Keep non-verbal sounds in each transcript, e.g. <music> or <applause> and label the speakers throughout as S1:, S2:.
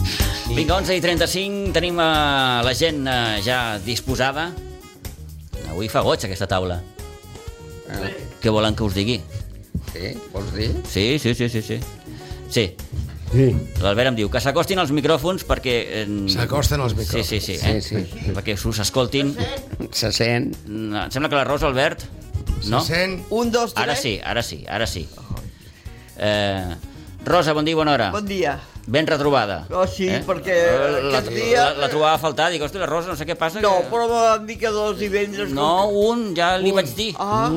S1: 5, 11 i 35, tenim eh, la gent eh, ja disposada. Avui fa goig aquesta taula.
S2: Ah,
S1: Què volen que us digui?
S2: sí? Vols dir?
S1: Sí, sí, sí, sí, sí. Sí,
S3: Sí.
S1: l'Albert em diu que s'acostin als micròfons perquè... eh,
S3: S'acosten als micròfons.
S1: Sí, sí, sí, eh?
S2: Sí, sí.
S1: Perquè us escoltin.
S2: Se sent.
S1: No, em sembla que la Rosa, Albert, no?
S3: Se sent...
S4: Un, dos, tres.
S1: Ara sí, ara sí, ara sí.
S2: Oh.
S1: Eh, Rosa, bon dia i bona hora.
S4: Bon dia.
S1: Ben retrobada.
S4: Oh, sí, perquè
S1: Eh? La,
S4: aquest dia-
S1: la, la trobava a faltar, dic, hosti, la Rosa, no sé què passa.
S4: No,
S1: que...
S4: però me van dir que dos divendres...
S1: No, un, ja li vaig dir.
S4: Ah,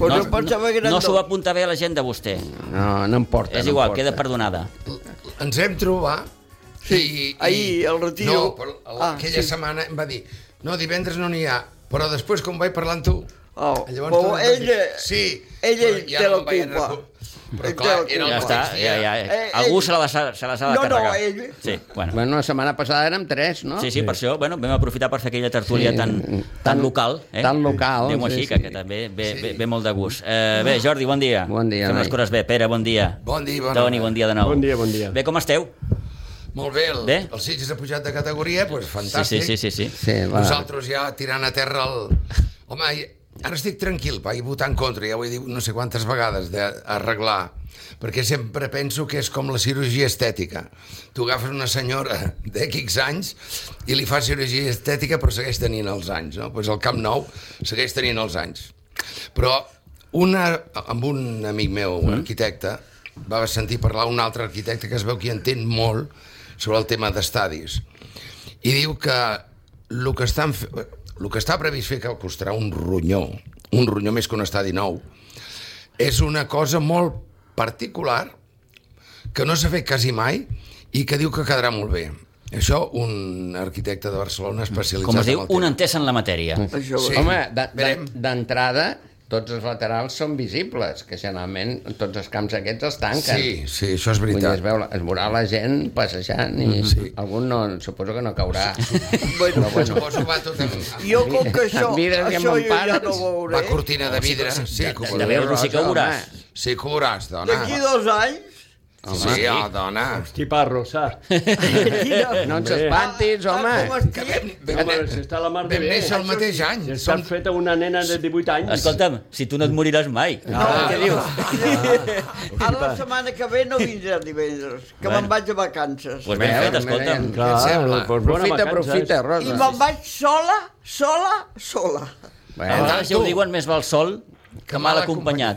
S4: pues jo pensava que eren
S1: no, no s'ho va
S4: dos.
S1: apuntar bé a l'agenda, vostè.
S2: No, no em porta.
S1: És
S2: Mm, no em
S1: igual,
S2: porta.
S1: queda perdonada.
S3: Ens hem trobat. Sí,
S4: ahir, al retiro.
S3: No, però el-
S4: Ah,
S3: aquella
S4: sí.
S3: setmana em va dir no, divendres no n'hi ha, però després com vaig parlar amb tu...
S4: Oh,
S3: Ah, llavors
S4: però
S3: tu em vas dir,
S4: ella-
S3: sí,
S4: ella
S3: però
S4: hi té
S3: no
S4: la
S3: em vaig
S4: culpa.
S3: recu- Però
S4: Ell té
S3: clar,
S4: la
S3: era el
S1: Ja
S4: culpa.
S1: està,
S3: migdia.
S1: ja, ja.
S4: Eh,
S1: Algú
S4: ell-
S1: se l'ha de, se l'ha de
S4: No, no,
S1: carregar.
S4: ell-
S1: Sí, bueno.
S2: Bueno, la setmana passada érem tres, no?
S1: Sí, sí, per això bueno, vam aprofitar per fer aquella tertúlia
S2: Sí, mm,
S1: tan, tan
S2: tan-
S1: local. Eh?
S2: tan local,
S1: Diguem-ho
S2: sí,
S1: així, que,
S2: sí.
S1: que també ve, ve, ve molt de gust. Eh, bé, Jordi, bon dia.
S2: Bon dia,
S1: Fem les
S2: noi.
S1: coses bé. Pere, bon dia.
S3: Bon dia, bona
S1: Toni,
S3: hora.
S1: bon dia de nou.
S5: Bon dia, bon dia.
S1: Bé, com esteu?
S3: Molt bé, el,
S1: Bé?
S3: el Sitges ha pujat de categoria,
S1: Sí,
S3: doncs
S1: sí,
S3: fantàstic.
S1: sí, sí, sí.
S2: Sí, va.
S3: Nosaltres ja tirant a terra el... Home, i- ara estic tranquil, vaig votar en contra, ja ho he dit no sé quantes vegades, d'arreglar, perquè sempre penso que és com la cirurgia estètica. Tu agafes una senyora <laughs> de X anys i li fas cirurgia estètica però segueix tenint els anys, no? Doncs el Camp Nou segueix tenint els anys. Però una, amb un amic meu, un arquitecte, va sentir parlar un altre arquitecte que es veu que hi entén molt sobre el tema d'estadis i diu que el que, estan, fe- el que està previst fer que costarà un ronyó, un ronyó més que un estadi nou, és una cosa molt particular que no s'ha fet quasi mai i que diu que quedarà molt bé. Això un arquitecte de Barcelona especialitzat
S1: Com es diu,
S3: en el
S1: un
S3: tema.
S1: entès en la matèria.
S4: Això,
S3: Sí.
S2: Home, de- de-
S3: Verem.
S2: d'entrada, tots els laterals són visibles, que generalment tots els camps aquests els tanquen.
S3: Sí, sí, això és
S2: Vull dir, es,
S3: veritat. Mm-hmm.
S2: veu, la- es veurà la gent passejant i sí. algun no, suposo que no caurà. <laughs>
S4: Bueno,
S2: Però bueno,
S3: Suposo va tot amb,
S4: jo com que això,
S2: Mires que me'n
S4: això jo ja
S2: pares.
S4: no ho
S3: va
S4: veuré.
S3: cortina de vidre. Sí, que ho
S1: De
S3: veuràs.
S1: veure-ho sí que ho veuràs.
S3: Sí, que ho veuràs, dona.
S4: D'aquí dos anys...
S3: Sí, oh, dona.
S5: Hosti, parro, saps?
S4: Quina...
S2: no ens
S5: Hombre.
S2: espantis, home.
S4: Ah, com estic?
S5: No, però si està la mar de
S3: Vam
S5: bé.
S3: néixer el mateix any.
S5: Si està
S3: Som
S5: feta una nena de 18 anys.
S1: Escolta'm, si tu no et moriràs mai.
S4: No,
S1: Ah,
S4: què dius? Ara Ah, la setmana que ve no vindré divendres, que
S1: Bueno.
S4: me'n vaig a vacances.
S1: Pues Doncs ben
S2: Veus,
S1: fet,
S2: mira,
S1: escolta'm.
S2: mira.
S5: Clar,
S3: Què et sembla?
S5: doncs bona
S2: Aprofita,
S5: vacances.
S2: aprofita,
S4: I
S2: Rosa.
S4: me'n vaig sola, sola, sola.
S1: A
S2: Bueno,
S1: vegades ja ho
S3: Ah, tu.
S1: diuen, més val sol que mal acompanyat.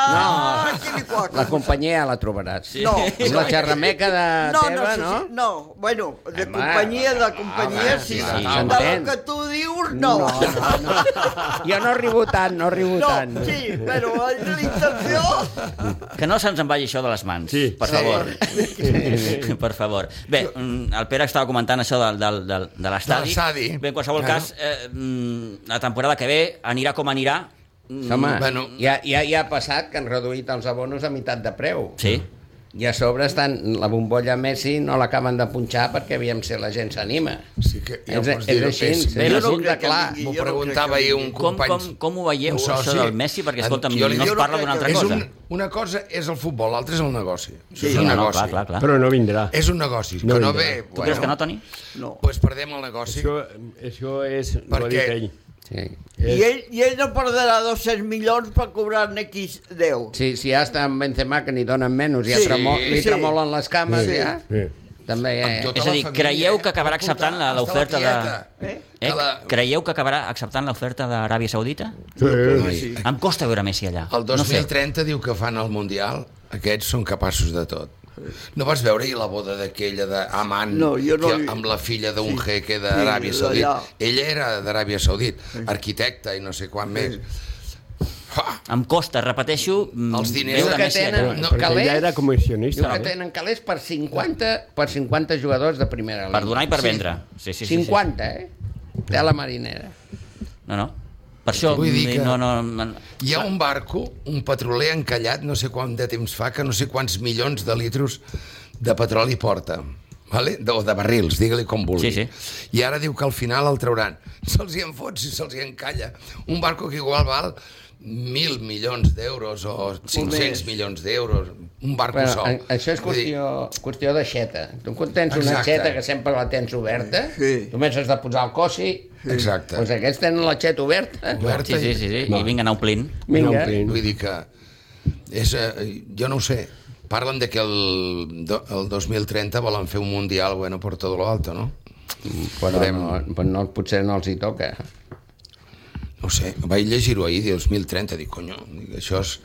S4: Ah, no.
S2: la companyia la trobaràs.
S4: No.
S2: Amb la xerrameca de
S4: No, no,
S2: teva,
S4: sí,
S2: no?
S4: sí, no, bueno, de
S2: Home,
S4: companyia, de companyia,
S2: home,
S4: sí,
S2: sí,
S4: sí.
S1: s'entén.
S4: De lo que tu dius, no.
S2: No, no, Jo no ribo tant, no ribo tant.
S4: <laughs> No, sí, però la intenció...
S1: Que no se'ns en vagi això de les mans,
S5: Sí.
S1: per favor. <laughs> per favor. Bé, mm, el Pere estava comentant això del, del, del, de l'estadi.
S3: De l'estadi.
S1: Bé, en qualsevol
S3: Claro.
S1: cas, eh, mm, la temporada que ve anirà com anirà. Mm,
S2: Home, bueno.
S3: Bueno.
S2: ja, ja, ja ha passat que han reduït els abonos a meitat de preu.
S1: Sí.
S2: I a sobre estan, la bombolla Messi no l'acaben de punxar perquè aviam si la gent s'anima.
S3: Sí que ja ho
S2: és,
S3: pots
S2: és
S3: dir,
S2: així,
S3: és-
S2: sí.
S1: Jo no
S2: resulta
S4: crec que
S2: clar.
S4: vingui.
S3: M'ho
S4: Jo no
S3: preguntava
S4: crec que
S3: ahir un
S1: Com,
S3: company...
S1: com, com ho veieu,
S3: un
S1: això
S3: soci.
S1: del Messi? Perquè, escolta'm,
S3: Jo li
S1: no
S3: dic-
S1: es parla d'una altra
S3: és
S1: cosa.
S3: un, una cosa és el futbol, l'altra és el negoci. Això
S4: Sí,
S3: és un
S1: no, no,
S3: negoci.
S1: clar, clar, clar.
S5: Però no vindrà.
S3: És un negoci,
S5: No
S3: que no
S5: vindrà.
S3: ve...
S1: Tu creus que no, Toni?
S4: No.
S3: Pues perdem el negoci.
S5: Això, això és... Ho ha
S3: Perquè-
S5: dit ell.
S2: Sí.
S4: I ell, I ell no perdrà 200 milions per cobrar-ne aquí 10.
S2: Sí, si ja està amb Benzema que n'hi donen menys, ja
S4: Sí,
S2: tremol, li
S4: sí.
S2: tremolen les cames,
S4: Sí.
S2: ja.
S5: Sí.
S2: També ja...
S3: Amb tota
S1: És a
S3: la
S1: dir,
S3: família,
S1: creieu
S3: eh?
S1: que acabarà
S3: Van portar
S1: acceptant la-
S3: hasta la
S1: l'oferta de...
S3: tieta.
S4: Eh?
S1: Eh?
S3: Que la-
S1: Creieu que acabarà acceptant l'oferta d'Aràbia Saudita?
S5: Sí.
S4: Sí.
S1: Em costa veure Messi allà.
S3: El
S1: No sé.
S3: 2030 diu que fan el Mundial. Aquests són capaços de tot. No vas veure ahir la boda d'aquella d'Aman
S4: No, jo no
S3: que,
S4: l'he-
S3: amb la filla d'un
S4: Sí.
S3: sí. jeque d'Aràbia
S4: Sí,
S3: Saudita?
S4: d'allà.
S3: Ella era d'Aràbia Saudita, arquitecta i no sé quan més. Ah, Fa,
S1: Em costa, repeteixo, mm,
S3: Els diners
S1: veure
S3: que
S1: Messi allà.
S2: tenen-
S5: No,
S2: No,
S5: perquè
S2: calés.
S5: ja era
S2: Diu
S5: comissionista.
S2: que
S5: Eh?
S2: tenen calés per 50, per 50 jugadors de primera línia.
S1: Per donar i per vendre. Sí, sí, sí, sí.
S2: 50, eh? Té la marinera.
S1: No, no. Per això... mm,
S3: Vull dir que-
S1: No, no, no,
S3: hi ha un barco, un petroler encallat, no sé quant de temps fa, que no sé quants milions de litros de petroli porta. vale? de, o de barrils, digue-li com vulgui.
S1: Sí,
S3: I ara diu que al final el trauran. <laughs> Se'ls hi enfot si se'ls hi encalla. Un barco que igual val mil milions d'euros o 500 milions d'euros, un barco
S2: Però,
S3: sol.
S2: a- això és
S3: Vull dir,
S2: qüestió, qüestió d'aixeta. Tu quan tens una
S3: Exacte.
S2: aixeta que sempre la tens oberta,
S6: Sí.
S2: només has de posar el cosi,
S3: Exacte.
S2: doncs aquests tenen l'aixeta oberta.
S1: Sí,
S3: Oberta
S1: sí,
S3: i-
S1: sí, sí. i vinga anar omplint.
S2: Vinga.
S3: Vull dir que... És, eh, jo no ho sé. Parlen de que el, do- el 2030 volen fer un mundial bueno, por todo lo alto, no?
S2: Però no, però no, potser no els hi toca.
S3: Ah, No ho sé, vaig llegir-ho ahir, 2030, dic, conyo, dic, això és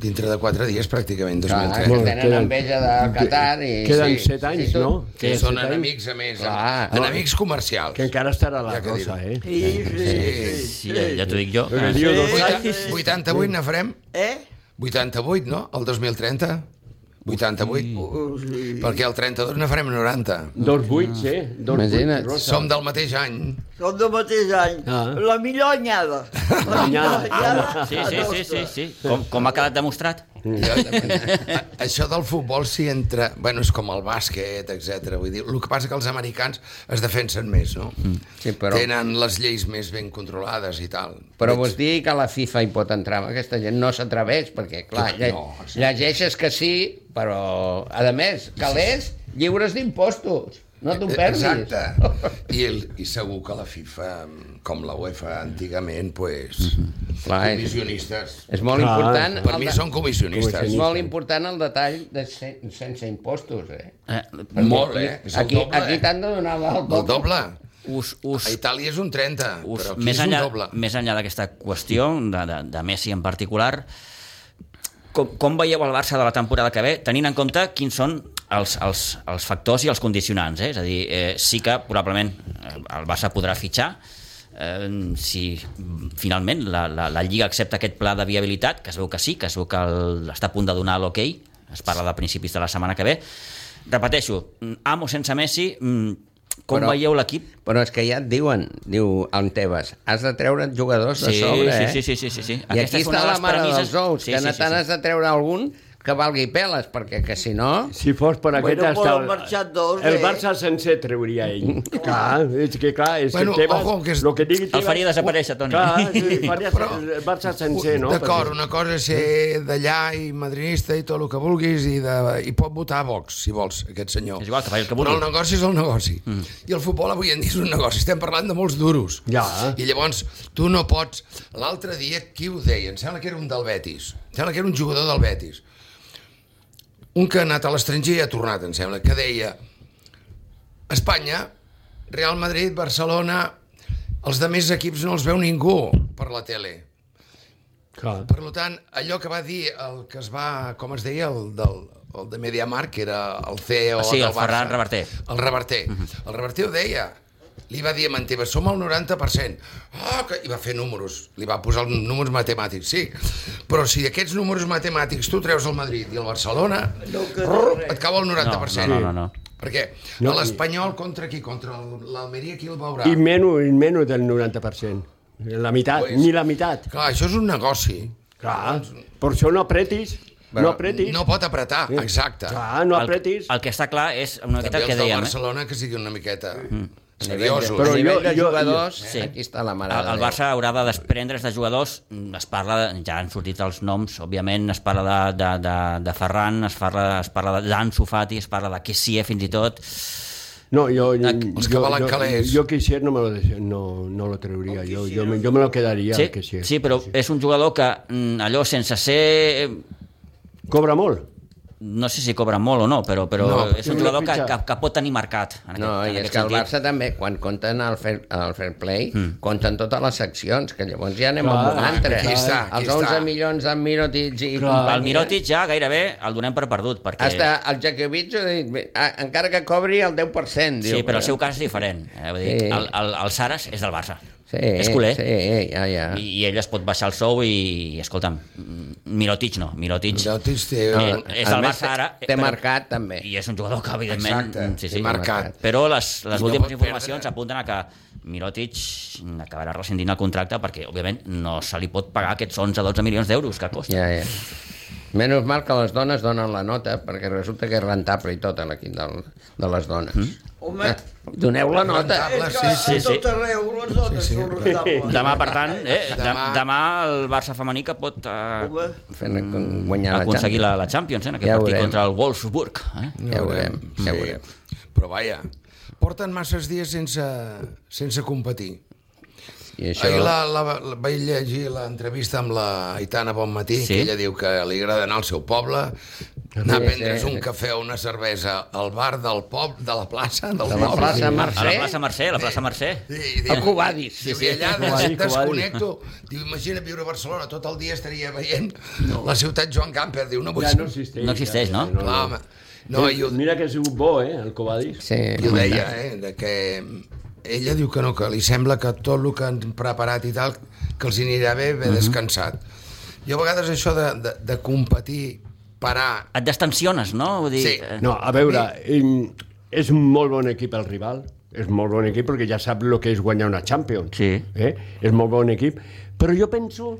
S3: dintre de 4 dies pràcticament,
S2: Clar, que
S3: 2030.
S2: tenen enveja de Qatar i...
S5: Queden
S2: sí,
S5: 7 anys,
S2: sí, tu-
S5: no?
S3: Que
S5: Queden
S3: són
S5: set anys,
S3: enemics, a més, eh?
S2: Clar.
S3: enemics comercials.
S5: Que encara estarà la
S3: Ja que
S5: cosa, eh?
S4: Sí, sí, sí.
S1: Sí, ja, ja t'ho dic jo.
S5: Lo que diu
S4: sí.
S5: dos
S4: Vuit-
S5: anys...
S3: 88 n'afarem?
S4: Eh?
S3: 88, no? El 2030? 88? Perquè el 32 n'afarem 90.
S5: Dos buits, eh? Dos
S2: Imagina't.
S5: buits, Rosa.
S3: Som del mateix any.
S4: Són del mateix any.
S5: Ah.
S4: La millor anyada. La
S2: Ah,
S5: Anyada.
S1: Sí, sí, sí, sí,
S4: nostra.
S1: sí. Com, com ha quedat demostrat.
S3: A- Eh, Això del futbol sí entra... Bueno, és com el bàsquet, etc. Vull dir, el que passa que els americans es defensen més, no?
S2: Sí, Mm. però-
S3: Tenen les lleis més ben controlades i tal.
S2: Però vols dir que la FIFA hi pot entrar amb aquesta gent? No s'atreveix, perquè, clar, lle
S3: No, sí.
S2: llegeixes que sí, però, a més, calés lliures d'impostos. No t'ho
S3: Eh,
S2: perdis.
S3: Exacte. I, el, I segur que la FIFA, com la UEFA antigament, pues,
S2: Mhm. Clar, és-
S3: comissionistes.
S2: És molt
S5: Clar,
S2: important...
S3: Per
S2: el
S3: mi
S2: de-
S3: són comissionistes.
S2: És molt important el detall de sen sense impostos, eh?
S1: Eh,
S3: Molt, eh? És el
S2: Aquí,
S3: doble,
S2: aquí
S3: eh?
S2: t'han de donar el doble.
S3: El doble.
S1: us,
S3: A
S1: us,
S3: Itàlia és un 30,
S1: us,
S3: però aquí
S1: més,
S3: és un
S1: enllà,
S3: doble.
S1: més enllà d'aquesta qüestió, de, de, de Messi en particular, com, com veieu el Barça de la temporada que ve, tenint en compte quins són els, els, els factors i els condicionants? Eh? És a dir, eh, sí que probablement eh, el Barça podrà fitxar, eh, si finalment la, la, la Lliga accepta aquest pla de viabilitat, que es veu que sí, que es veu que el, està a punt de donar l'hoquei, es parla de principis de la setmana que ve, repeteixo, amb o sense Messi, mm, com
S2: Però-
S1: Però... veieu l'equip?
S2: Però és que ja et diuen, diu en Tebas, has de treure jugadors de
S1: Sí,
S2: sobre, eh?
S1: sí, sí, sí, sí, sí.
S2: I
S1: Aquesta
S2: aquí
S1: és una
S2: està
S1: de
S2: la
S1: les
S2: mare
S1: premisses-
S2: dels ous,
S1: Sí,
S2: que
S1: sí,
S2: no
S1: sí, sí.
S2: tant has de treure algun que valgui peles, perquè que si no...
S5: Si fos per aquest...
S4: Bueno, però
S5: hasta-
S4: han marxat dos, eh?
S5: El Barça sencer treuria ell. clar, és que clar, és
S3: Bueno,
S5: que Tebas...
S3: ojo, que és-
S5: Lo que digui
S1: El
S5: Tebas-
S1: faria desaparèixer, Toni.
S5: Clar, sí, faria
S3: Però-
S5: el Barça sencer, no? Eh?
S3: D'acord, una cosa és ser d'allà i madrinista i tot el que vulguis i, de, i pot votar a Vox, si vols, aquest senyor.
S1: És igual, que faci el que
S3: Però
S1: vulgui.
S3: el negoci és el negoci. Mm. I el futbol avui en dia és un negoci. Estem parlant de molts duros.
S5: Ja.
S3: I llavors tu no pots... L'altre dia, qui ho deia? Em sembla que era un del Betis. Em sembla que era un jugador del Betis. Un que ha anat a l'estranger i ha tornat, em sembla, que deia Espanya, Real Madrid, Barcelona, els de més equips no els veu ningú per la tele.
S5: Clar.
S3: Per lo tant, allò que va dir el que es va, com es deia, el, del, el de Mediamar, que era el CEO
S1: Ah, sí,
S3: del
S1: el Ferran
S3: Barça.
S1: Reverter.
S3: El Reverter. El Reverter ho deia. Li va dir a Manteva, som al 90%. Ah, que... I va fer números, li va posar els números matemàtics, sí. Però si aquests números matemàtics tu treus el Madrid i el Barcelona, no, et cau el 90%.
S1: No, no, no, no.
S3: Perquè
S5: No,
S3: a l'Espanyol contra qui? Contra el- l'Almeria qui el veurà?
S5: I menys, i menys del 90%. La meitat,
S3: Pues-
S5: ni la meitat.
S3: Clar, això és un negoci.
S5: Clar, per això no apretis, no apretis.
S3: No pot apretar, exacte.
S5: Clar, no
S1: El-
S5: apretis.
S1: El, que està clar és una miqueta el
S3: També els
S1: que
S3: del
S1: dèiem. Eh? Mm.
S3: Barcelona que sigui una miqueta
S2: A
S3: seriosos. eh?
S5: Però
S2: nivell
S5: jo-
S2: de
S5: jo-
S2: jugadors,
S1: Sí.
S2: aquí està la mare
S1: El,
S2: de
S1: el
S2: Déu.
S1: Barça haurà de desprendre's de jugadors, mm, es parla, de- ja han sortit els noms, òbviament, es parla de, de, de, de Ferran, es parla, es parla de- d'Ansu Fati, es parla de Kessie fins i tot.
S5: No, yo, yo,
S3: Els que
S5: yo,
S3: valen
S5: yo,
S3: calés.
S5: yo Kessier no me lo, des- no, no lo trauría, yo, yo, me, yo me lo quedaría
S1: Sí,
S5: el Kessier.
S1: sí però és un jugador que mm, allò sense ser... eh,
S5: Cobra molt.
S1: No sé si cobra molt o no, però, però
S3: No,
S1: és un
S5: no
S1: jugador que,
S5: fitxa.
S1: que, que pot tenir mercat. En
S2: No,
S1: aquest, en
S2: i és
S1: aquest
S2: que el
S1: sentit. Hmm.
S2: Barça també, quan compten el fair, el fair play, mm. compten totes les seccions, que llavors ja anem amb un
S5: Clar,
S2: altre.
S3: aquí està, aquí
S2: Els 11
S3: està.
S2: milions de Mirotic i
S1: El
S3: eh?
S1: Mirotic ja gairebé el donem per perdut, perquè...
S2: Hasta el Jakovic, ha dit, bé, ah, encara que cobri el 10%, diu.
S1: Sí, però el seu cas és diferent. Eh? Vull dir,
S2: Sí.
S1: el, el, el Saras és del Barça.
S2: Sí,
S1: és culer.
S2: Sí, ja, ja.
S1: I, I ell es pot baixar el sou i, escolta'm, mm, Mirotic no, Mirotic...
S3: Mirotic té-
S1: eh,
S3: No,
S1: és
S2: A
S1: el
S2: més,
S1: Barça ara... eh,
S2: Té té marcat, també.
S1: I és un jugador que, evidentment...
S3: Exacte,
S1: mm, sí, sí,
S3: té marcat.
S1: Però les,
S3: I
S1: les
S3: no
S1: últimes
S3: pot
S1: informacions
S3: perdre.
S1: apunten a que Mirotic acabarà rescindint el contracte perquè, òbviament, no se li pot pagar aquests 11-12 milions d'euros que costa.
S2: Ja, ja. Menys mal que les dones donen la nota, perquè resulta que és rentable i tot a l'equip del, de les dones.
S1: Hmm.
S2: Mm.
S4: Home,
S2: Doneu la nota.
S3: Rentable,
S4: és
S3: sí,
S4: que
S1: sí,
S4: a
S1: sí.
S4: tot arreu les dones són rentables.
S1: Demà, per tant, eh, de-
S3: Demà.
S1: demà el Barça femení que pot eh,
S4: Home,
S2: Fent guanyar la
S1: aconseguir la, la Champions eh, en aquest
S2: Ja ho
S1: partit
S2: veurem.
S1: contra el Wolfsburg. Eh?
S2: Ja ho veurem, ja ho veurem.
S3: Però vaja, porten masses dies sense, sense competir.
S2: I això...
S3: Ahir la, la, la, vaig llegir l'entrevista amb la Aitana Bonmatí,
S1: Sí. Ah,
S3: sí? que ella diu que li agrada anar al seu poble, anar a
S2: Sí,
S3: prendre's
S2: sí.
S3: un cafè o una cervesa al bar del poble, de la plaça, del
S2: De la
S3: poble.
S2: plaça
S1: A la
S2: Mercè,
S1: plaça Mercè, a la plaça Mercè.
S3: I, i
S2: a
S3: diu,
S2: Cubadis.
S3: diu, i allà
S5: Covadi,
S3: des- desconnecto. Diu, imagina viure a Barcelona, tot el dia estaria veient la ciutat Joan Camper. Diu, no vull...
S5: Ja no existeix.
S1: No existeix, no?
S5: no,
S3: Clar, home. No, i ho,
S5: Mira que ha sigut bo, eh, el Covadis.
S2: Sí,
S3: I ho deia, eh, de que ella diu que no, que li sembla que tot el que han preparat i tal, que els hi anirà bé
S1: Mhm.
S3: ben descansat. Jo a vegades això de, de, de competir, parar...
S1: Et destensiones, no? Vull dir,
S3: Sí.
S1: eh,
S5: No, a veure, em, és un molt bon equip el rival, és molt bon equip perquè ja sap el que és guanyar una Champions.
S1: Sí.
S5: Eh? És molt bon equip, però jo penso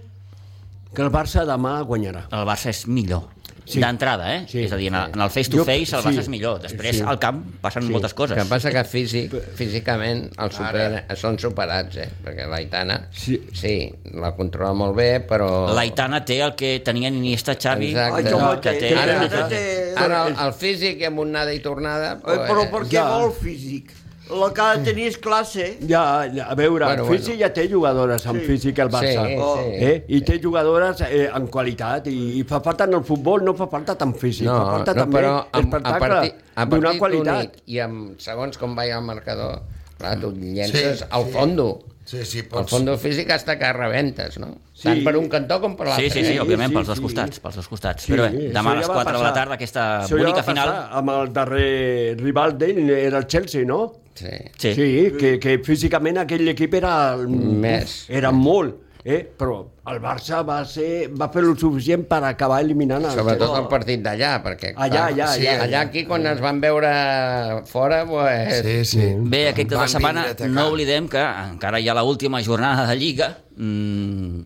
S5: que el Barça demà guanyarà.
S1: el Barça és millor.
S5: Sí.
S1: D'entrada, eh?
S5: Sí.
S1: És a dir, en el- en el
S5: Jo-
S1: face-to-face el Barça
S5: sí.
S1: és millor. Després,
S5: Sí.
S1: al camp, passen moltes
S2: El que
S1: coses.
S2: passa que físic, físicament els supera, són superats, eh? Perquè l'Aitana, sí.
S5: Sí.
S2: sí, la controla molt bé, però...
S1: L'Aitana té el que tenia Iniesta, Xavi,
S2: Exacte.
S1: no,
S4: Ai,
S1: que
S4: com
S1: té...
S2: Ara,
S4: Ara té-
S2: ara el, el físic amb onada i tornada...
S4: Oi, però per què
S5: Ja.
S4: vol físic? La que ha de tenir és classe.
S5: Ja, ja, a veure,
S2: Bueno,
S5: bueno,
S2: bueno.
S5: físic bueno. ja té jugadores amb
S4: Sí.
S5: sí. físic el Barça.
S2: Sí,
S4: Oh.
S2: sí.
S5: Eh? I té jugadores eh, amb qualitat i, i fa falta en el futbol, no fa falta tant físic,
S2: No,
S5: fa falta
S2: no,
S5: també
S2: però amb, a
S5: espectacle,
S2: partir, a
S5: donar
S2: partit
S5: qualitat.
S2: únic i amb segons com vagi el marcador, clar, tu llences sí, al fondo.
S3: Sí, sí,
S2: Al
S3: pots...
S2: fondo físic hasta que rebentes, no? Sí.
S5: Sí.
S2: Tant per un cantó com per
S1: Sí,
S2: l'altre.
S1: sí, sí,
S5: Sí,
S1: òbviament,
S5: sí,
S1: pels dos
S5: sí.
S1: costats, pels dos costats.
S5: Sí,
S1: Però
S5: sí,
S1: bé,
S5: això
S1: demà a les
S5: ja va
S1: 4 de la
S5: passar.
S1: tarda, aquesta
S5: Això ja va
S1: bonica
S5: passar
S1: final...
S5: Amb el darrer rival d'ell era el Chelsea, no?
S2: sí.
S1: Sí.
S2: sí.
S5: sí que, que físicament aquell equip era... el-
S2: Més.
S5: Era molt, eh? però el Barça va, ser, va fer el suficient per acabar eliminant
S1: Ah,
S5: el
S2: Sobretot el partit d'allà, perquè...
S5: Allà, allà,
S2: sí,
S5: allà.
S2: allà aquí, quan ens van veure fora, pues, sí.
S3: Sí, sí.
S1: Mm. Bé, aquest cap de
S3: Van
S1: setmana
S3: vindre a atacar.
S1: no oblidem que encara hi ha l'última jornada de Lliga. Mm,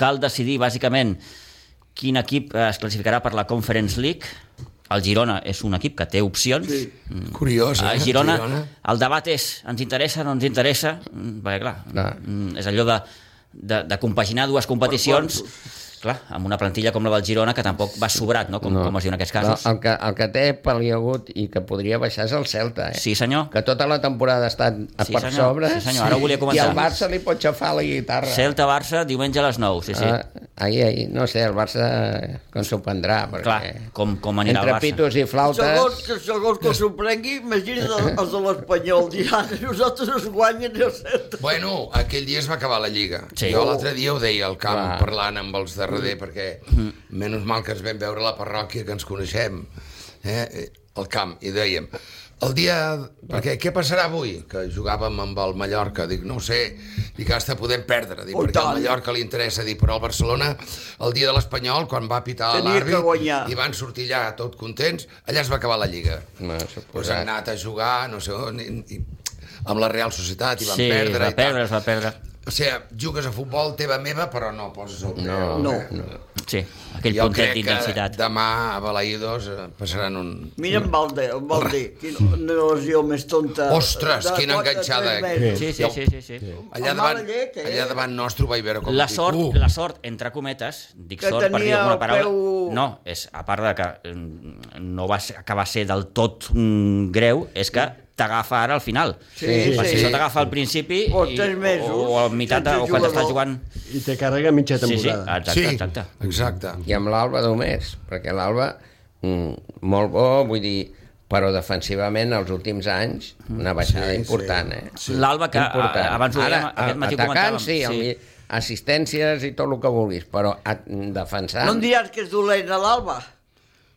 S1: cal decidir, bàsicament, quin equip eh, es classificarà per la Conference League. El Girona és un equip que té opcions. Sí.
S3: Curiós, eh?
S1: A Girona, Girona, el debat és, ens interessa, no ens interessa? Mm, Perquè, clar,
S2: Clar.
S1: mm, és allò de, de, de compaginar dues competicions, clar, amb una plantilla com la del Girona, que tampoc va sobrat, no? Com, no. com es diu en aquests casos.
S2: El que, el que té peliagut i que podria baixar és el Celta, eh?
S1: Sí, senyor.
S2: Que tota la temporada ha estat a
S1: Sí,
S2: per
S1: senyor.
S2: sobre.
S1: Sí, senyor. Ara ho volia
S2: I
S1: comentar.
S2: al Barça li pot xafar la guitarra.
S1: Celta-Barça, diumenge a les 9, sí, sí.
S2: Ah, ahir, ahir, no sé, el Barça com s'ho prendrà, perquè...
S1: Clar, com- com anirà el
S2: entre
S1: Barça.
S2: pitos i flautes...
S4: Segons que, segons que ho sorprengui, imagina't el- els de l'Espanyol diran nosaltres us guanyen el centre.
S3: Bueno, aquell dia es va acabar la Lliga.
S1: Sí. Mm.
S3: Sí. Jo l'altre dia ho deia al camp,
S2: Clar.
S3: Clar. parlant amb els de darrere, perquè menys mal que ens vam veure a la parròquia, que ens coneixem, eh? eh, al camp, i dèiem... El dia... Perquè què passarà avui? Que jugàvem amb el Mallorca. Dic, no ho sé. Dic, hasta podem perdre. Dic,
S4: Oh,
S3: perquè
S4: tant.
S3: al Mallorca li interessa. Dic, però al Barcelona, el dia de l'Espanyol, quan va pitar
S4: Tenia que
S3: l'àrbit,
S4: guanyar.
S3: i van sortir allà tot contents, allà es va acabar la Lliga.
S1: Mm.
S2: No,
S3: Pues han anat a jugar, no sé on, i, i, amb la Real Societat i van
S1: sí,
S3: perdre.
S1: va
S3: i tal.
S1: perdre, es va perdre.
S3: O sigui, jugues a futbol teva meva, però no poses el teu.
S4: No.
S1: Sí, aquell
S3: Jo
S1: puntet
S3: crec que
S1: d'intensitat.
S3: demà a Balaidos eh, passaran un...
S4: Mira en Valde, en Valde, quina lesió més tonta.
S3: Ostres, quina enganxada.
S1: Sí, sí, sí, sí, sí.
S3: Allà
S4: Amb
S3: davant,
S4: mala llet, eh?
S3: allà davant nostre ho vaig veure com
S1: La
S3: dic,
S1: sort,
S3: "Uh,
S1: la sort, entre cometes, dic
S4: Que
S1: sort per dir
S4: tenia
S1: alguna
S4: el
S1: paraula...
S4: peu-
S1: No, és, a part de que mm, no va ser, acabar ser del tot mm, greu, és que t'agafa ara al final.
S4: Sí,
S1: Perquè
S3: sí.
S1: això t'agafa al principi
S4: Portes mesos
S1: o, o a meitat, o
S4: sense
S1: quan estàs jugant...
S4: jugador.
S5: I te carrega mitja
S1: Sí, sí,
S5: temporada.
S1: exacte,
S3: sí,
S1: exacte.
S3: exacte.
S2: I amb l'Alba només, perquè l'Alba, mm, molt bo, vull dir, però defensivament els últims anys
S1: Mm.
S2: una baixada sí, important, eh?
S1: L'Alba, que a, abans ho
S2: Ara,
S1: dèiem, aquest matí comentàvem.
S2: atacant, sí, sí. assistències i tot el que vulguis, però a, defensant...
S4: No em diràs que és dolent a l'Alba?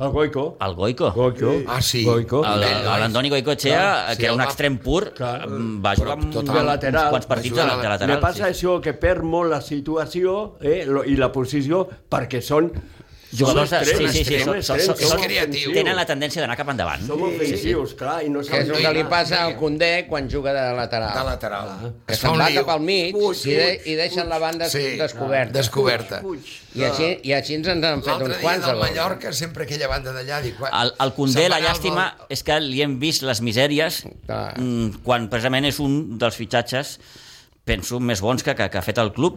S5: El Goico.
S1: El Goico.
S5: Goico.
S3: Ah, sí.
S5: Goico.
S1: El-
S3: Aquell noi.
S1: L'Antoni Goicoechea,
S3: Clar,
S1: que
S3: sí,
S1: era un
S3: el va-
S1: extrem pur,
S5: Clar.
S1: va jugar amb
S3: total.
S1: uns
S5: Lateral.
S1: quants partits
S3: Va
S1: de
S3: jugar
S1: la- de
S3: a la-
S5: Me
S1: lateral.
S5: passa
S1: sí.
S5: això, que perd molt la situació eh, lo- i la posició perquè són...
S1: Jugadors de...
S5: són
S1: Sí,
S5: extrems,
S1: sí, sí, són,
S5: extrems,
S1: són,
S5: extrems,
S1: són,
S3: és
S1: són,
S3: creatiu.
S1: tenen la tendència d'anar cap endavant.
S5: Som ofensius, clar, i no
S2: Que és
S5: saben...
S2: el que li passa al Condé quan juga de lateral.
S3: De lateral.
S2: Que
S3: Es fa
S2: se'n
S3: un
S2: va
S3: lío.
S2: cap al mig
S4: Puig,
S2: i, de,
S4: puig,
S2: i deixen la banda
S3: Sí,
S2: descoberta.
S3: Descoberta.
S4: Puig.
S2: I així, I així ens en han fet
S3: L'altre
S2: uns
S3: dia
S2: quants.
S3: del
S2: alhora.
S3: Mallorca, sempre aquella banda d'allà... dic, quan-
S1: El, el Condé,
S3: se'n va
S1: la
S3: anar al
S1: llàstima
S3: vol-
S1: és que li hem vist les misèries
S5: Oh,
S2: Clar.
S1: mm, quan precisament és un dels fitxatges penso més bons que, que, que ha fet el club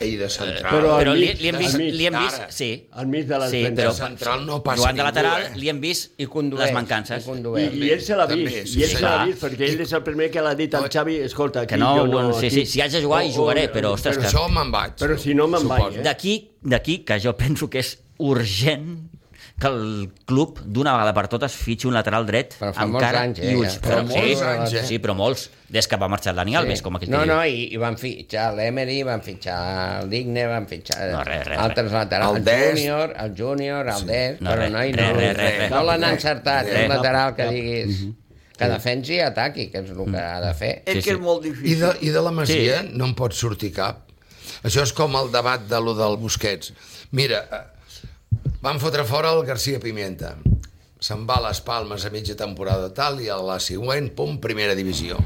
S3: Ell de central.
S5: Però
S1: Eh, però li,
S5: enmig,
S1: li hem vist,
S5: enmig.
S1: li hem vist
S3: Ara.
S1: sí,
S5: Enmig de les
S1: sí,
S5: defenses.
S1: però
S3: De central no passa
S1: jugant de
S3: ningú,
S1: lateral
S3: eh?
S1: li hem vist
S2: I condueix.
S1: les mancances
S2: I
S5: I,
S2: condueix.
S5: I ell se l'ha
S3: També,
S5: vist,
S3: sí,
S5: i ell se l'ha
S1: senyor.
S5: vist, perquè ell és el primer que l'ha dit al Xavi, escolta, aquí
S1: Que no,
S5: jo no...
S1: bueno, sí,
S5: aquí-
S1: sí, si has de jugar, hi jugaré, però, ostres,
S3: Però
S1: que-
S3: jo me'n vaig.
S5: Però si no, me'n vaig,
S3: suposo.
S5: eh?
S1: d'aquí d'aquí que jo <laughs> penso que és urgent que el club d'una vegada per totes fitxi un lateral dret
S2: Però fa
S1: amb
S2: molts
S1: cara
S2: anys, eh,
S1: i ulls.
S2: ja.
S1: Però,
S3: Fa
S1: sí,
S3: molts anys, eh.
S1: sí, però molts, des que va marxar Dani Alves, com aquell
S2: no,
S1: que diu.
S2: no, i, i van fitxar l'Emery, van fitxar el Digne, van fitxar
S1: No, res, res,
S2: altres laterals,
S3: El
S2: el,
S3: Dest.
S2: Júnior, el Júnior, el Dest,
S1: no,
S2: però
S1: res,
S2: no, i no,
S1: res, res, res,
S2: no
S1: res.
S2: l'han encertat,
S1: Res. Mhm.
S2: un lateral que diguis que defensi i ataqui, que és el que ha de fer.
S4: És
S1: Sí,
S4: que
S1: sí.
S4: és molt
S3: I
S4: difícil.
S3: de, I de la Masia sí. no en pot sortir cap. Això és com el debat de lo del Busquets. Mira, eh, van fotre fora el García Pimienta. Se'n va a les Palmes a mitja temporada tal i a la següent, pum, primera divisió.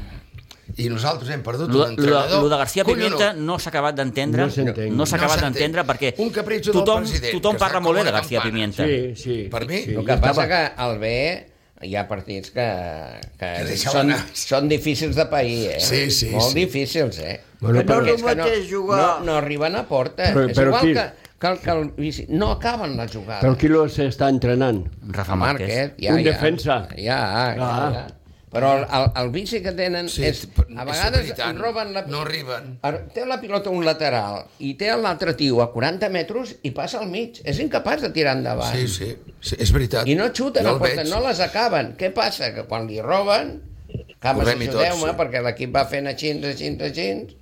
S3: I nosaltres hem perdut
S1: Lo,
S3: un
S1: lo,
S3: entrenador...
S1: lo de García
S3: collonut.
S1: Pimienta no s'ha acabat d'entendre
S5: No s'entén.
S1: no s'ha
S3: No
S1: acabat
S3: s'entén.
S1: d'entendre perquè
S3: Un capritxo del
S1: tothom,
S3: president,
S1: tothom
S3: que
S1: parla
S3: està
S1: molt bé
S3: com
S1: de
S3: una
S1: García
S3: campana.
S1: Pimienta
S5: Sí, sí.
S3: Per mi?
S5: Sí.
S2: El
S5: ja
S2: que passa
S5: estava.
S2: que al B hi ha partits que, que,
S3: Que deixa
S2: són,
S3: anar.
S2: són difícils de pair, eh?
S3: Sí, sí,
S2: Molt
S3: sí.
S2: difícils, eh?
S5: Bueno,
S2: Perquè
S5: però-
S2: és que
S4: No és el mateix jugar-
S2: No, no arriben a porta.
S5: Però-
S2: Però, és
S5: però
S2: igual
S5: qui-
S2: que, que, el, que el, Vici- no acaben la
S1: Ah.
S2: jugada.
S5: Però qui lo s'està entrenant?
S1: Rafa Márquez,
S2: ja,
S5: Un
S2: ja.
S5: defensa.
S2: Ja, ja,
S5: Ah.
S2: ja. Però el, el, el vici que tenen sí, és...
S3: però
S2: A
S3: és
S2: vegades
S3: superitant.
S2: roben la...
S3: No arriben.
S2: Ar- Té la pilota un lateral i té l'altre tio a 40 metres i passa al mig. És incapaç de tirar endavant.
S3: Sí, sí, sí, és veritat.
S2: I no xuten,
S3: Jo
S2: no,
S3: el
S2: porten,
S3: veig.
S2: no les acaben. Què passa? Que quan li roben, acabes
S3: Correm-hi tots,
S2: ajudeu-me, sí.
S3: sí.
S2: eh, perquè l'equip va fent així, així, així,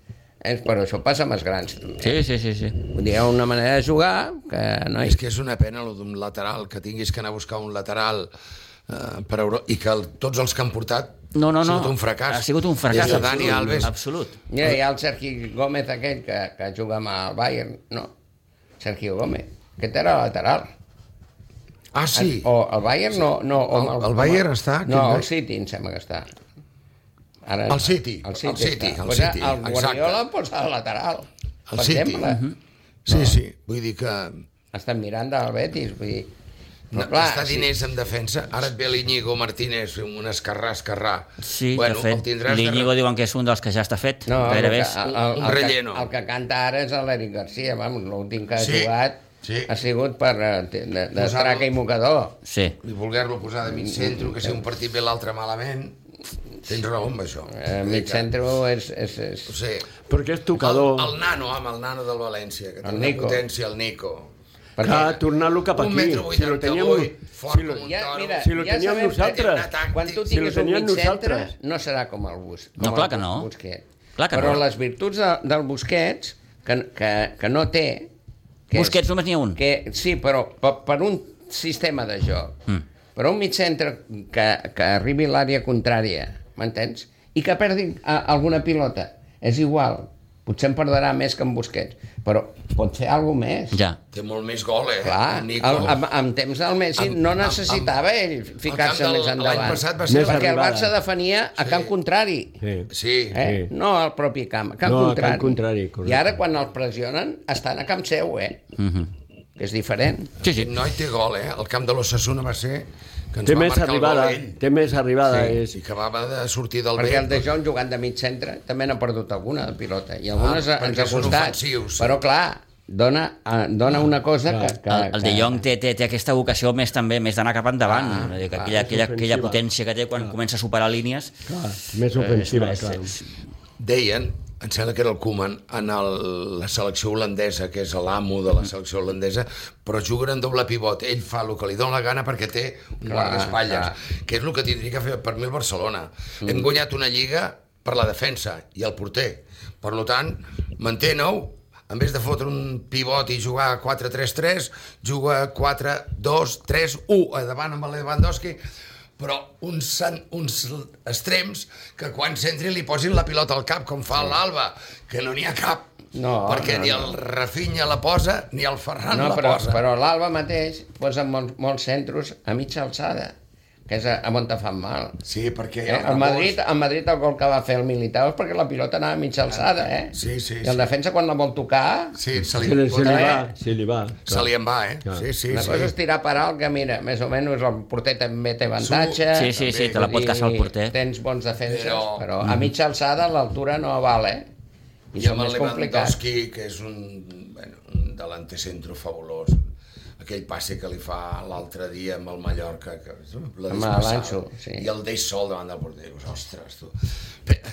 S2: Eh, però això passa amb els grans. també.
S1: sí, sí, sí, sí.
S2: Vull dir, hi ha una manera de jugar que no
S3: És que és una pena lo d'un lateral, que tinguis que anar a buscar un lateral eh, per Euro... i que el, tots els que han portat
S1: No, no, no.
S3: ha sigut un fracàs.
S1: Ha sigut un fracàs.
S3: Des de Dani
S1: absolut,
S3: Alves.
S1: Absolut.
S2: Ja, hi ha el Sergi Gómez aquell que, que juga amb el Bayern, no? Sergio Gómez, que era lateral.
S3: Ah, sí.
S1: Oh.
S2: O el Bayern no... no o amb
S3: El- el Bayern està, quin
S2: No, el
S3: Bayern?
S2: City em sembla que està. Ara,
S3: El City,
S2: El City,
S3: el
S2: està.
S3: City, el
S2: Posa
S3: City,
S2: el Guardiola posa el lateral.
S3: El
S2: per
S3: City.
S2: exemple.
S3: Mhm. Sí, sí. Vull dir que...
S2: Estan mirant del Betis, vull dir...
S3: No,
S2: Però, clar,
S3: està
S2: sí,
S3: diners en defensa. Ara et ve l'Iñigo Martínez, un escarrà, escarrà.
S1: Sí,
S3: bueno,
S1: de fet,
S3: el tindràs
S1: l'Iñigo
S3: de...
S1: diuen que és un dels que ja està fet.
S2: no, el,
S1: gairebé.
S2: que,
S1: és-
S2: el, el,
S3: un
S2: el, que,
S3: relleno.
S2: el que canta ara és l'Eric Garcia, vamos, l'últim que ha
S3: Sí,
S2: jugat
S3: sí.
S2: ha sigut per eh, de, de, de
S3: Posar-lo-
S2: traca i mocador.
S1: Sí.
S3: I voler-lo posar de mig centre, que si un partit ve l'altre malament... Tens raó amb això.
S2: Eh, mig centro és... és, és...
S3: No sé,
S5: Perquè és
S3: el,
S5: tocador.
S3: el nano, amb el nano del València, que té
S2: El
S3: una
S2: Nico.
S3: potència, el Nico.
S5: Clar, tornar-lo cap
S3: Un
S5: aquí.
S3: metro
S5: Si lo teníem...
S3: 88, fort
S5: si lo-
S3: com un
S2: Ja,
S3: toro.
S2: mira,
S5: Si lo
S2: ja
S5: teníem
S2: sabem que eh,
S5: nosaltres.
S3: té una
S2: Quan tu
S3: tàctica.
S5: Si lo
S2: tinguis un
S5: tenien
S2: mig centre,
S5: nosaltres.
S2: no serà com el bus.
S1: No,
S2: com
S1: clar
S2: el
S1: que no.
S2: Busquets.
S1: Clar que
S2: Però
S1: no.
S2: les virtuts de, del Busquets, que, que, que no té... Que és-
S1: Busquets només n'hi ha un.
S2: Que, sí, però per, per un sistema de joc, mm. per un mig centre que, que arribi a l'àrea contrària, m'entens? I que perdi a, alguna pilota, és igual. Potser en perdrà més que en Busquets, però pot fer alguna més.
S1: Ja.
S3: Té molt més gol, eh?
S2: Clar,
S3: el
S2: el,
S3: Nico.
S2: amb, amb temps del Messi
S3: Amb-
S2: amb, no
S3: amb-
S2: necessitava amb, ell ficar-se
S3: camp del-
S2: més endavant.
S3: l'any passat va ser
S5: Més
S2: perquè el
S5: arribada.
S2: Barça defenia a camp contrari.
S5: Sí.
S3: Sí.
S2: Eh?
S5: Sí.
S2: No al propi camp, a camp
S5: No, a camp
S2: contrari.
S5: contrari, correcte.
S2: I ara quan els pressionen estan a camp seu, eh? Mm
S3: Mhm.
S2: -hmm. Que és diferent.
S1: Sí, sí.
S3: Aquest noi té gol, eh? El camp de l'Ossassuna va ser que ens
S5: Té
S3: va
S5: més
S3: marcar
S5: arribada,
S3: el gol ell.
S5: té més arribada.
S3: Sí,
S5: Sí.
S3: que va haver de sortir del
S2: Perquè el
S3: bé.
S2: De Jong jugant de mig centre també n'ha perdut alguna de pilota i algunes
S3: Ah,
S2: ah, ens
S3: perquè
S2: ha
S3: són
S2: costat.
S3: ofensius. Ah,
S2: Però clar, dona, eh, dona una cosa que, que,
S1: El, el De Jong té, té, té aquesta vocació més també més d'anar cap endavant,
S2: Clar,
S1: ah, aquella,
S2: clar,
S1: aquella,
S5: és
S1: aquella, aquella
S5: ofensiva.
S1: potència que té
S3: Ah.
S1: quan comença a superar línies.
S5: Clar, més ofensiva,
S1: és-
S5: clar.
S1: és-
S3: Deien, em sembla que era el Koeman, en el, la selecció holandesa, que és l'amo de la selecció holandesa, però juguen en doble pivot. Ell fa el que li dóna la gana perquè té un guardaespatlles, que és el que tindria que fer per mi el Barcelona. Mm. Hem guanyat una lliga per la defensa i el porter. Per lo tant, mantén-ho en vez de fotre un pivot i jugar 4-3-3, juga 4-2-3-1 a davant amb el Lewandowski, però uns, cen- uns extrems que quan s'entri li posin la pilota al cap, com fa l'Alba, que no n'hi ha cap.
S2: No,
S3: perquè
S2: no,
S3: ni
S2: no.
S3: el Rafinha la posa, ni el Ferran
S2: No,
S3: la
S2: però,
S3: posa.
S2: però l'Alba mateix posa molts, molts centros a mitja alçada, que és a, a on te fan mal.
S3: Sí, perquè... hi
S2: Eh?
S3: ha
S2: El
S3: rebots.
S2: Madrid, el Madrid el gol que va fer el Militao és perquè la pilota anava a mitja alçada, eh?
S3: Ah. Sí, sí,
S2: I el
S3: sí.
S2: defensa quan la vol tocar,
S3: Sí, se
S5: Se
S3: li,
S5: li, se li va,
S2: Eh?
S5: se li va.
S3: se li en va, eh?
S5: Clar.
S3: Sí, sí,
S2: la
S3: sí.
S2: cosa és tirar per alt, que mira, més o menys el porter també té avantatge.
S3: Su-
S1: Sí, sí, sí, te la pot
S2: i
S1: caçar el porter.
S2: Tens bons defenses, però,
S3: Però-
S2: però a mitja alçada l'altura no val, eh? I,
S3: I
S2: I és
S3: amb el
S2: més complicat.
S3: Lewandowski, que és un, bueno, un delanter centro fabulós, aquell passe que li fa l'altre dia amb el Mallorca, que la
S2: Amb l'Anxo, sí.
S3: i el deix sol davant del porter. Dius, ostres, tu. Sí,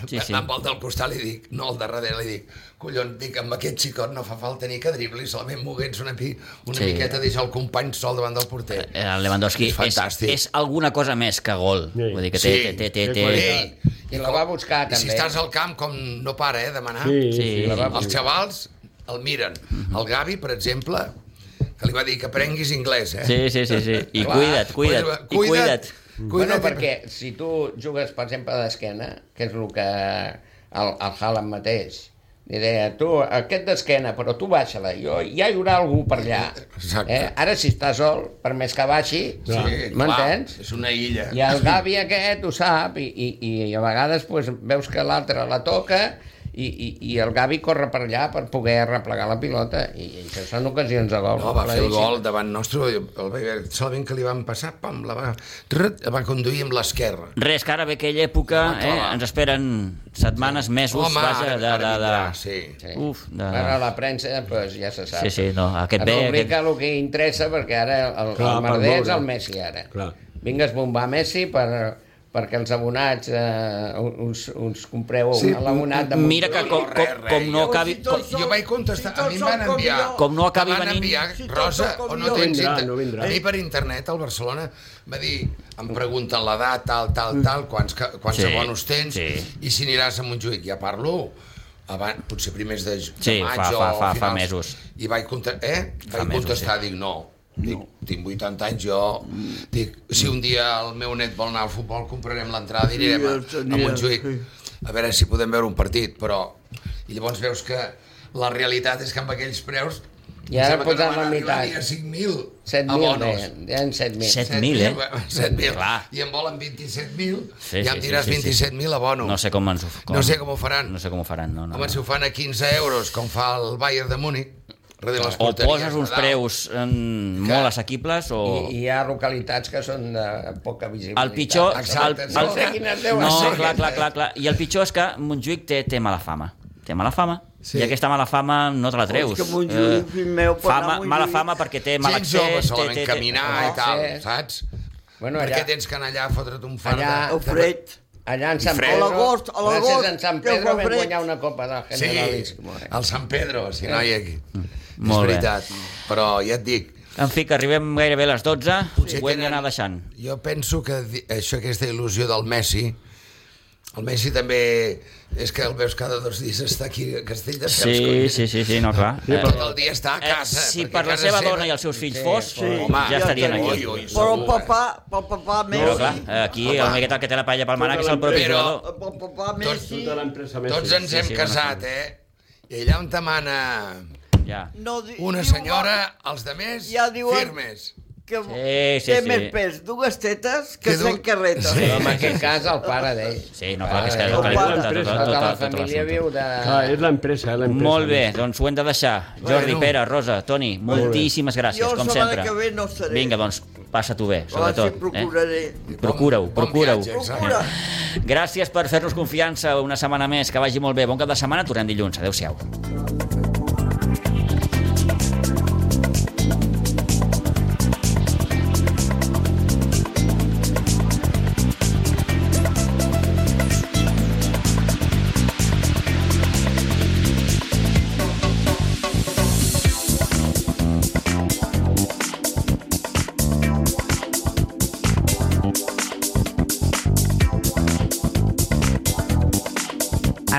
S1: Sí, sí.
S3: sí. Amb el del costat li dic, no, al darrere li dic, collons, dic, amb aquest xicot no fa falta ni que dribli, solament moguets una, pi, una
S1: Sí. Eh,
S3: sí. miqueta, deixar el company sol davant del porter.
S1: El Lewandowski és,
S3: És
S1: és,
S3: fantàstic.
S1: alguna cosa més que gol.
S5: Sí.
S1: Vull dir que té... té, té, té,
S5: té
S1: té,
S5: qualitat.
S3: Ei,
S2: I la va buscar,
S3: I si
S2: també.
S3: estàs al camp, com no para, eh, demanar.
S5: Sí, sí,
S1: Sí.
S5: la va
S3: Els xavals el miren.
S1: Mhm.
S3: El Gavi, per exemple, que li va dir que aprenguis anglès, eh?
S1: Sí, sí, sí, sí. I
S3: Clar, eh,
S1: cuida't, cuida't, i cuida't.
S3: Cuida't,
S2: Bueno,
S3: i-
S2: perquè si tu jugues, per exemple, d'esquena, que és el que el, el Haaland mateix, li deia, tu, aquest d'esquena, però tu baixa-la, jo, ja hi haurà algú per allà.
S3: Exacte.
S2: Eh? Ara, si està sol, per més que baixi,
S1: Ah,
S5: Clar.
S3: Sí, clar,
S2: m'entens?
S3: És una illa.
S2: I el Gavi aquest ho sap, i, i, i a vegades pues, veus que l'altre la toca i, i, i el Gavi corre per allà per poder replegar la pilota, i, i això són ocasions de gol.
S3: No, va fer el
S2: claríssimes.
S3: gol davant nostre, el veia solament que li van passar, pam, la va, trut, va conduir amb l'esquerra.
S1: Res, que ara ve aquella època,
S3: No,
S1: eh,
S3: clar.
S1: ens esperen setmanes, mesos,
S3: Home,
S1: vaja,
S3: ara-
S1: de...
S3: ara
S1: de, de...
S3: vindrà, sí.
S2: Sí.
S1: Uf, de-
S2: Bueno, la premsa, eh, pues, ja se sap.
S1: Sí, sí, no, aquest bé,
S2: Rubrica el que interessa, perquè ara el, Clar,
S5: Clar,
S2: el merder
S5: per
S2: és
S5: veure.
S2: el Messi, ara.
S5: Clar.
S2: Vingues bombar Messi per, perquè els abonats eh, us, us compreu
S3: Sí,
S2: un l'abonat de
S1: Mira que com,
S3: res,
S1: com,
S3: res,
S1: com no
S3: jo-
S1: acabi...
S4: si
S1: Com,
S4: tots-
S3: Jo vaig contestar,
S4: Si
S3: a mi em
S4: tots
S3: van
S4: són com
S3: enviar...
S4: jo.
S1: Com no acabi
S3: Em van
S1: venint-
S4: Si
S3: enviar,
S4: tots
S3: Rosa,
S4: són com
S3: o
S4: jo.
S3: no tens...
S5: Vindrà,
S3: inter-
S5: no vindrà.
S3: A mi per internet, al Barcelona, va dir em pregunten l'edat, tal, tal, tal, quants, ca- quants
S1: Sí,
S3: sí, abonos tens,
S1: sí.
S3: i si aniràs a Montjuïc. Ja parlo abans, potser primers de, de
S1: Sí,
S3: maig
S1: fa-
S3: o
S1: fa- fa-
S3: finals.
S1: fa mesos.
S3: I vaig, conte eh?
S1: Fa
S3: vaig
S1: mesos,
S3: contestar, dic, no. Dic, tinc 80 anys, jo... Dic, si un dia el meu net vol anar al futbol, comprarem l'entrada i
S4: Sí,
S3: anirem a,
S4: jo
S3: a
S4: aniré,
S3: Montjuïc.
S4: sí.
S3: A veure si podem veure un partit, però... I llavors veus que la realitat és que amb aquells preus...
S2: I ara
S3: em sembla que
S2: posant
S3: van
S2: la
S3: arribar
S2: meitat.
S3: ni a Ah, 5.000 abonos.
S2: 7.000, ja en 7.000.
S1: Set- 7.000,
S3: 7.000, <laughs>
S1: eh?
S3: 7.000.
S1: Clar.
S3: I en volen 27.000,
S1: Sí,
S3: sí,
S1: sí,
S3: ja em
S1: sí,
S3: diràs
S1: sí, sí.
S3: 27.000 abonos.
S1: no sé com ens ho...
S3: No sé com ho faran.
S1: No sé com ho faran, no, no.
S3: Home,
S1: no.
S3: si ho fan a 15 euros, com fa el Bayern de Múnich, darrere les
S1: O
S3: porteries
S1: poses
S3: de
S1: uns
S3: dalt.
S1: preus en,
S3: Que-
S1: molt assequibles o...
S2: I, I hi ha localitats que són de poca visibilitat. Ah,
S1: El pitjor... El,
S3: Exacte,
S1: el,
S2: no sé quines deuen
S1: no,
S2: ser.
S1: clar, clar, clar, clar. I el pitjor és que Montjuïc té, té mala fama. Té mala fama. Sí. I aquesta mala fama no te la treus. Eh,
S4: és que Montjuïc, fill meu, per anar
S1: fama,
S4: a Montjuïc-
S1: mala fama perquè té mal
S3: Gent
S1: accés...
S3: jove
S1: té,
S3: solament
S1: té, té,
S3: caminar i
S2: No,
S3: tal,
S2: Ah, sí.
S3: saps?
S2: Bueno,
S3: per
S2: allà-
S3: què tens que anar allà a fotre't un fart
S2: Allà-
S3: de...
S4: El fred.
S2: Allà en Sant
S3: fred.
S2: Pedro,
S3: A
S4: l'agost, a l'agost,
S2: gràcies en Sant
S4: que
S2: Pedro
S4: fa
S2: vam
S4: fred.
S2: guanyar una copa del
S3: Sí,
S2: Generalíssimo. eh?
S3: al Sant Pedro, si no hi ha aquí.
S1: Mm. Molt
S3: és
S1: bé.
S3: veritat, però ja et dic,
S1: En fi, que arribem gairebé a les 12, ho
S3: Potser
S1: hem
S3: tenen-
S1: d'anar deixant.
S3: jo penso que di- això, aquesta il·lusió del Messi, el Messi també és que el veus cada dos dies està aquí a Castell de
S1: Sí, sí, sí, sí, no, clar.
S5: Sí,
S3: Tot el dia està a
S1: Eh,
S3: casa.
S1: si
S3: perquè
S1: per la
S3: casa
S1: seva
S3: seva-
S1: dona i els seus fills
S2: Sí,
S1: fos,
S4: sí.
S1: home, ja
S4: Ja
S1: estarien
S4: estaria.
S1: aquí.
S3: Ui, ui,
S4: Però el
S3: segur, eh?
S4: papà, pel papà Messi... eh,
S1: Però clar, eh. aquí el miquet el que té la palla pel mànec és el propi
S3: Però-
S1: jugador.
S4: Pel papà Messi...
S5: Tota l'empresa Messi.
S3: Tots ens
S1: sí,
S3: hem
S1: sí,
S3: casat, eh? I allà on te mana
S1: Ja.
S4: No, di-
S3: una
S4: diu-
S3: senyora, els de més,
S4: Ja diuen-
S3: firmes.
S4: que
S1: Sí, sí,
S4: té
S1: sí.
S4: més pes dues tetes que
S3: Que du-
S4: cent carretes.
S2: Però en aquest cas el pare d'ell.
S1: Sí, no, clar, que és que
S2: Ah,
S1: és el que li
S4: Tota
S1: falta, tot-
S5: l'empresa,
S1: tot-
S2: Tota la
S1: tot- tot l'assumpte.
S2: família viu de...
S5: Clar, és l'empresa, eh, l'empresa.
S1: Molt bé, doncs ho hem de deixar. Jordi,
S3: Bueno.
S1: Pere, Rosa, Toni, moltíssimes gràcies,
S4: Jo la
S1: com
S4: setmana
S1: sempre.
S4: que ve no seré.
S1: Vinga, doncs, passa-t'ho bé,
S4: Ara sí,
S1: sobretot. Eh?
S4: procuraré.
S1: Procura-ho,
S3: Bon- bon
S1: procura-ho.
S3: viatge, exacte.
S4: Procura.
S1: Gràcies per fer-nos confiança una setmana més. Que vagi molt bé. Bon cap de setmana. Tornem dilluns. Adéu-siau.
S6: A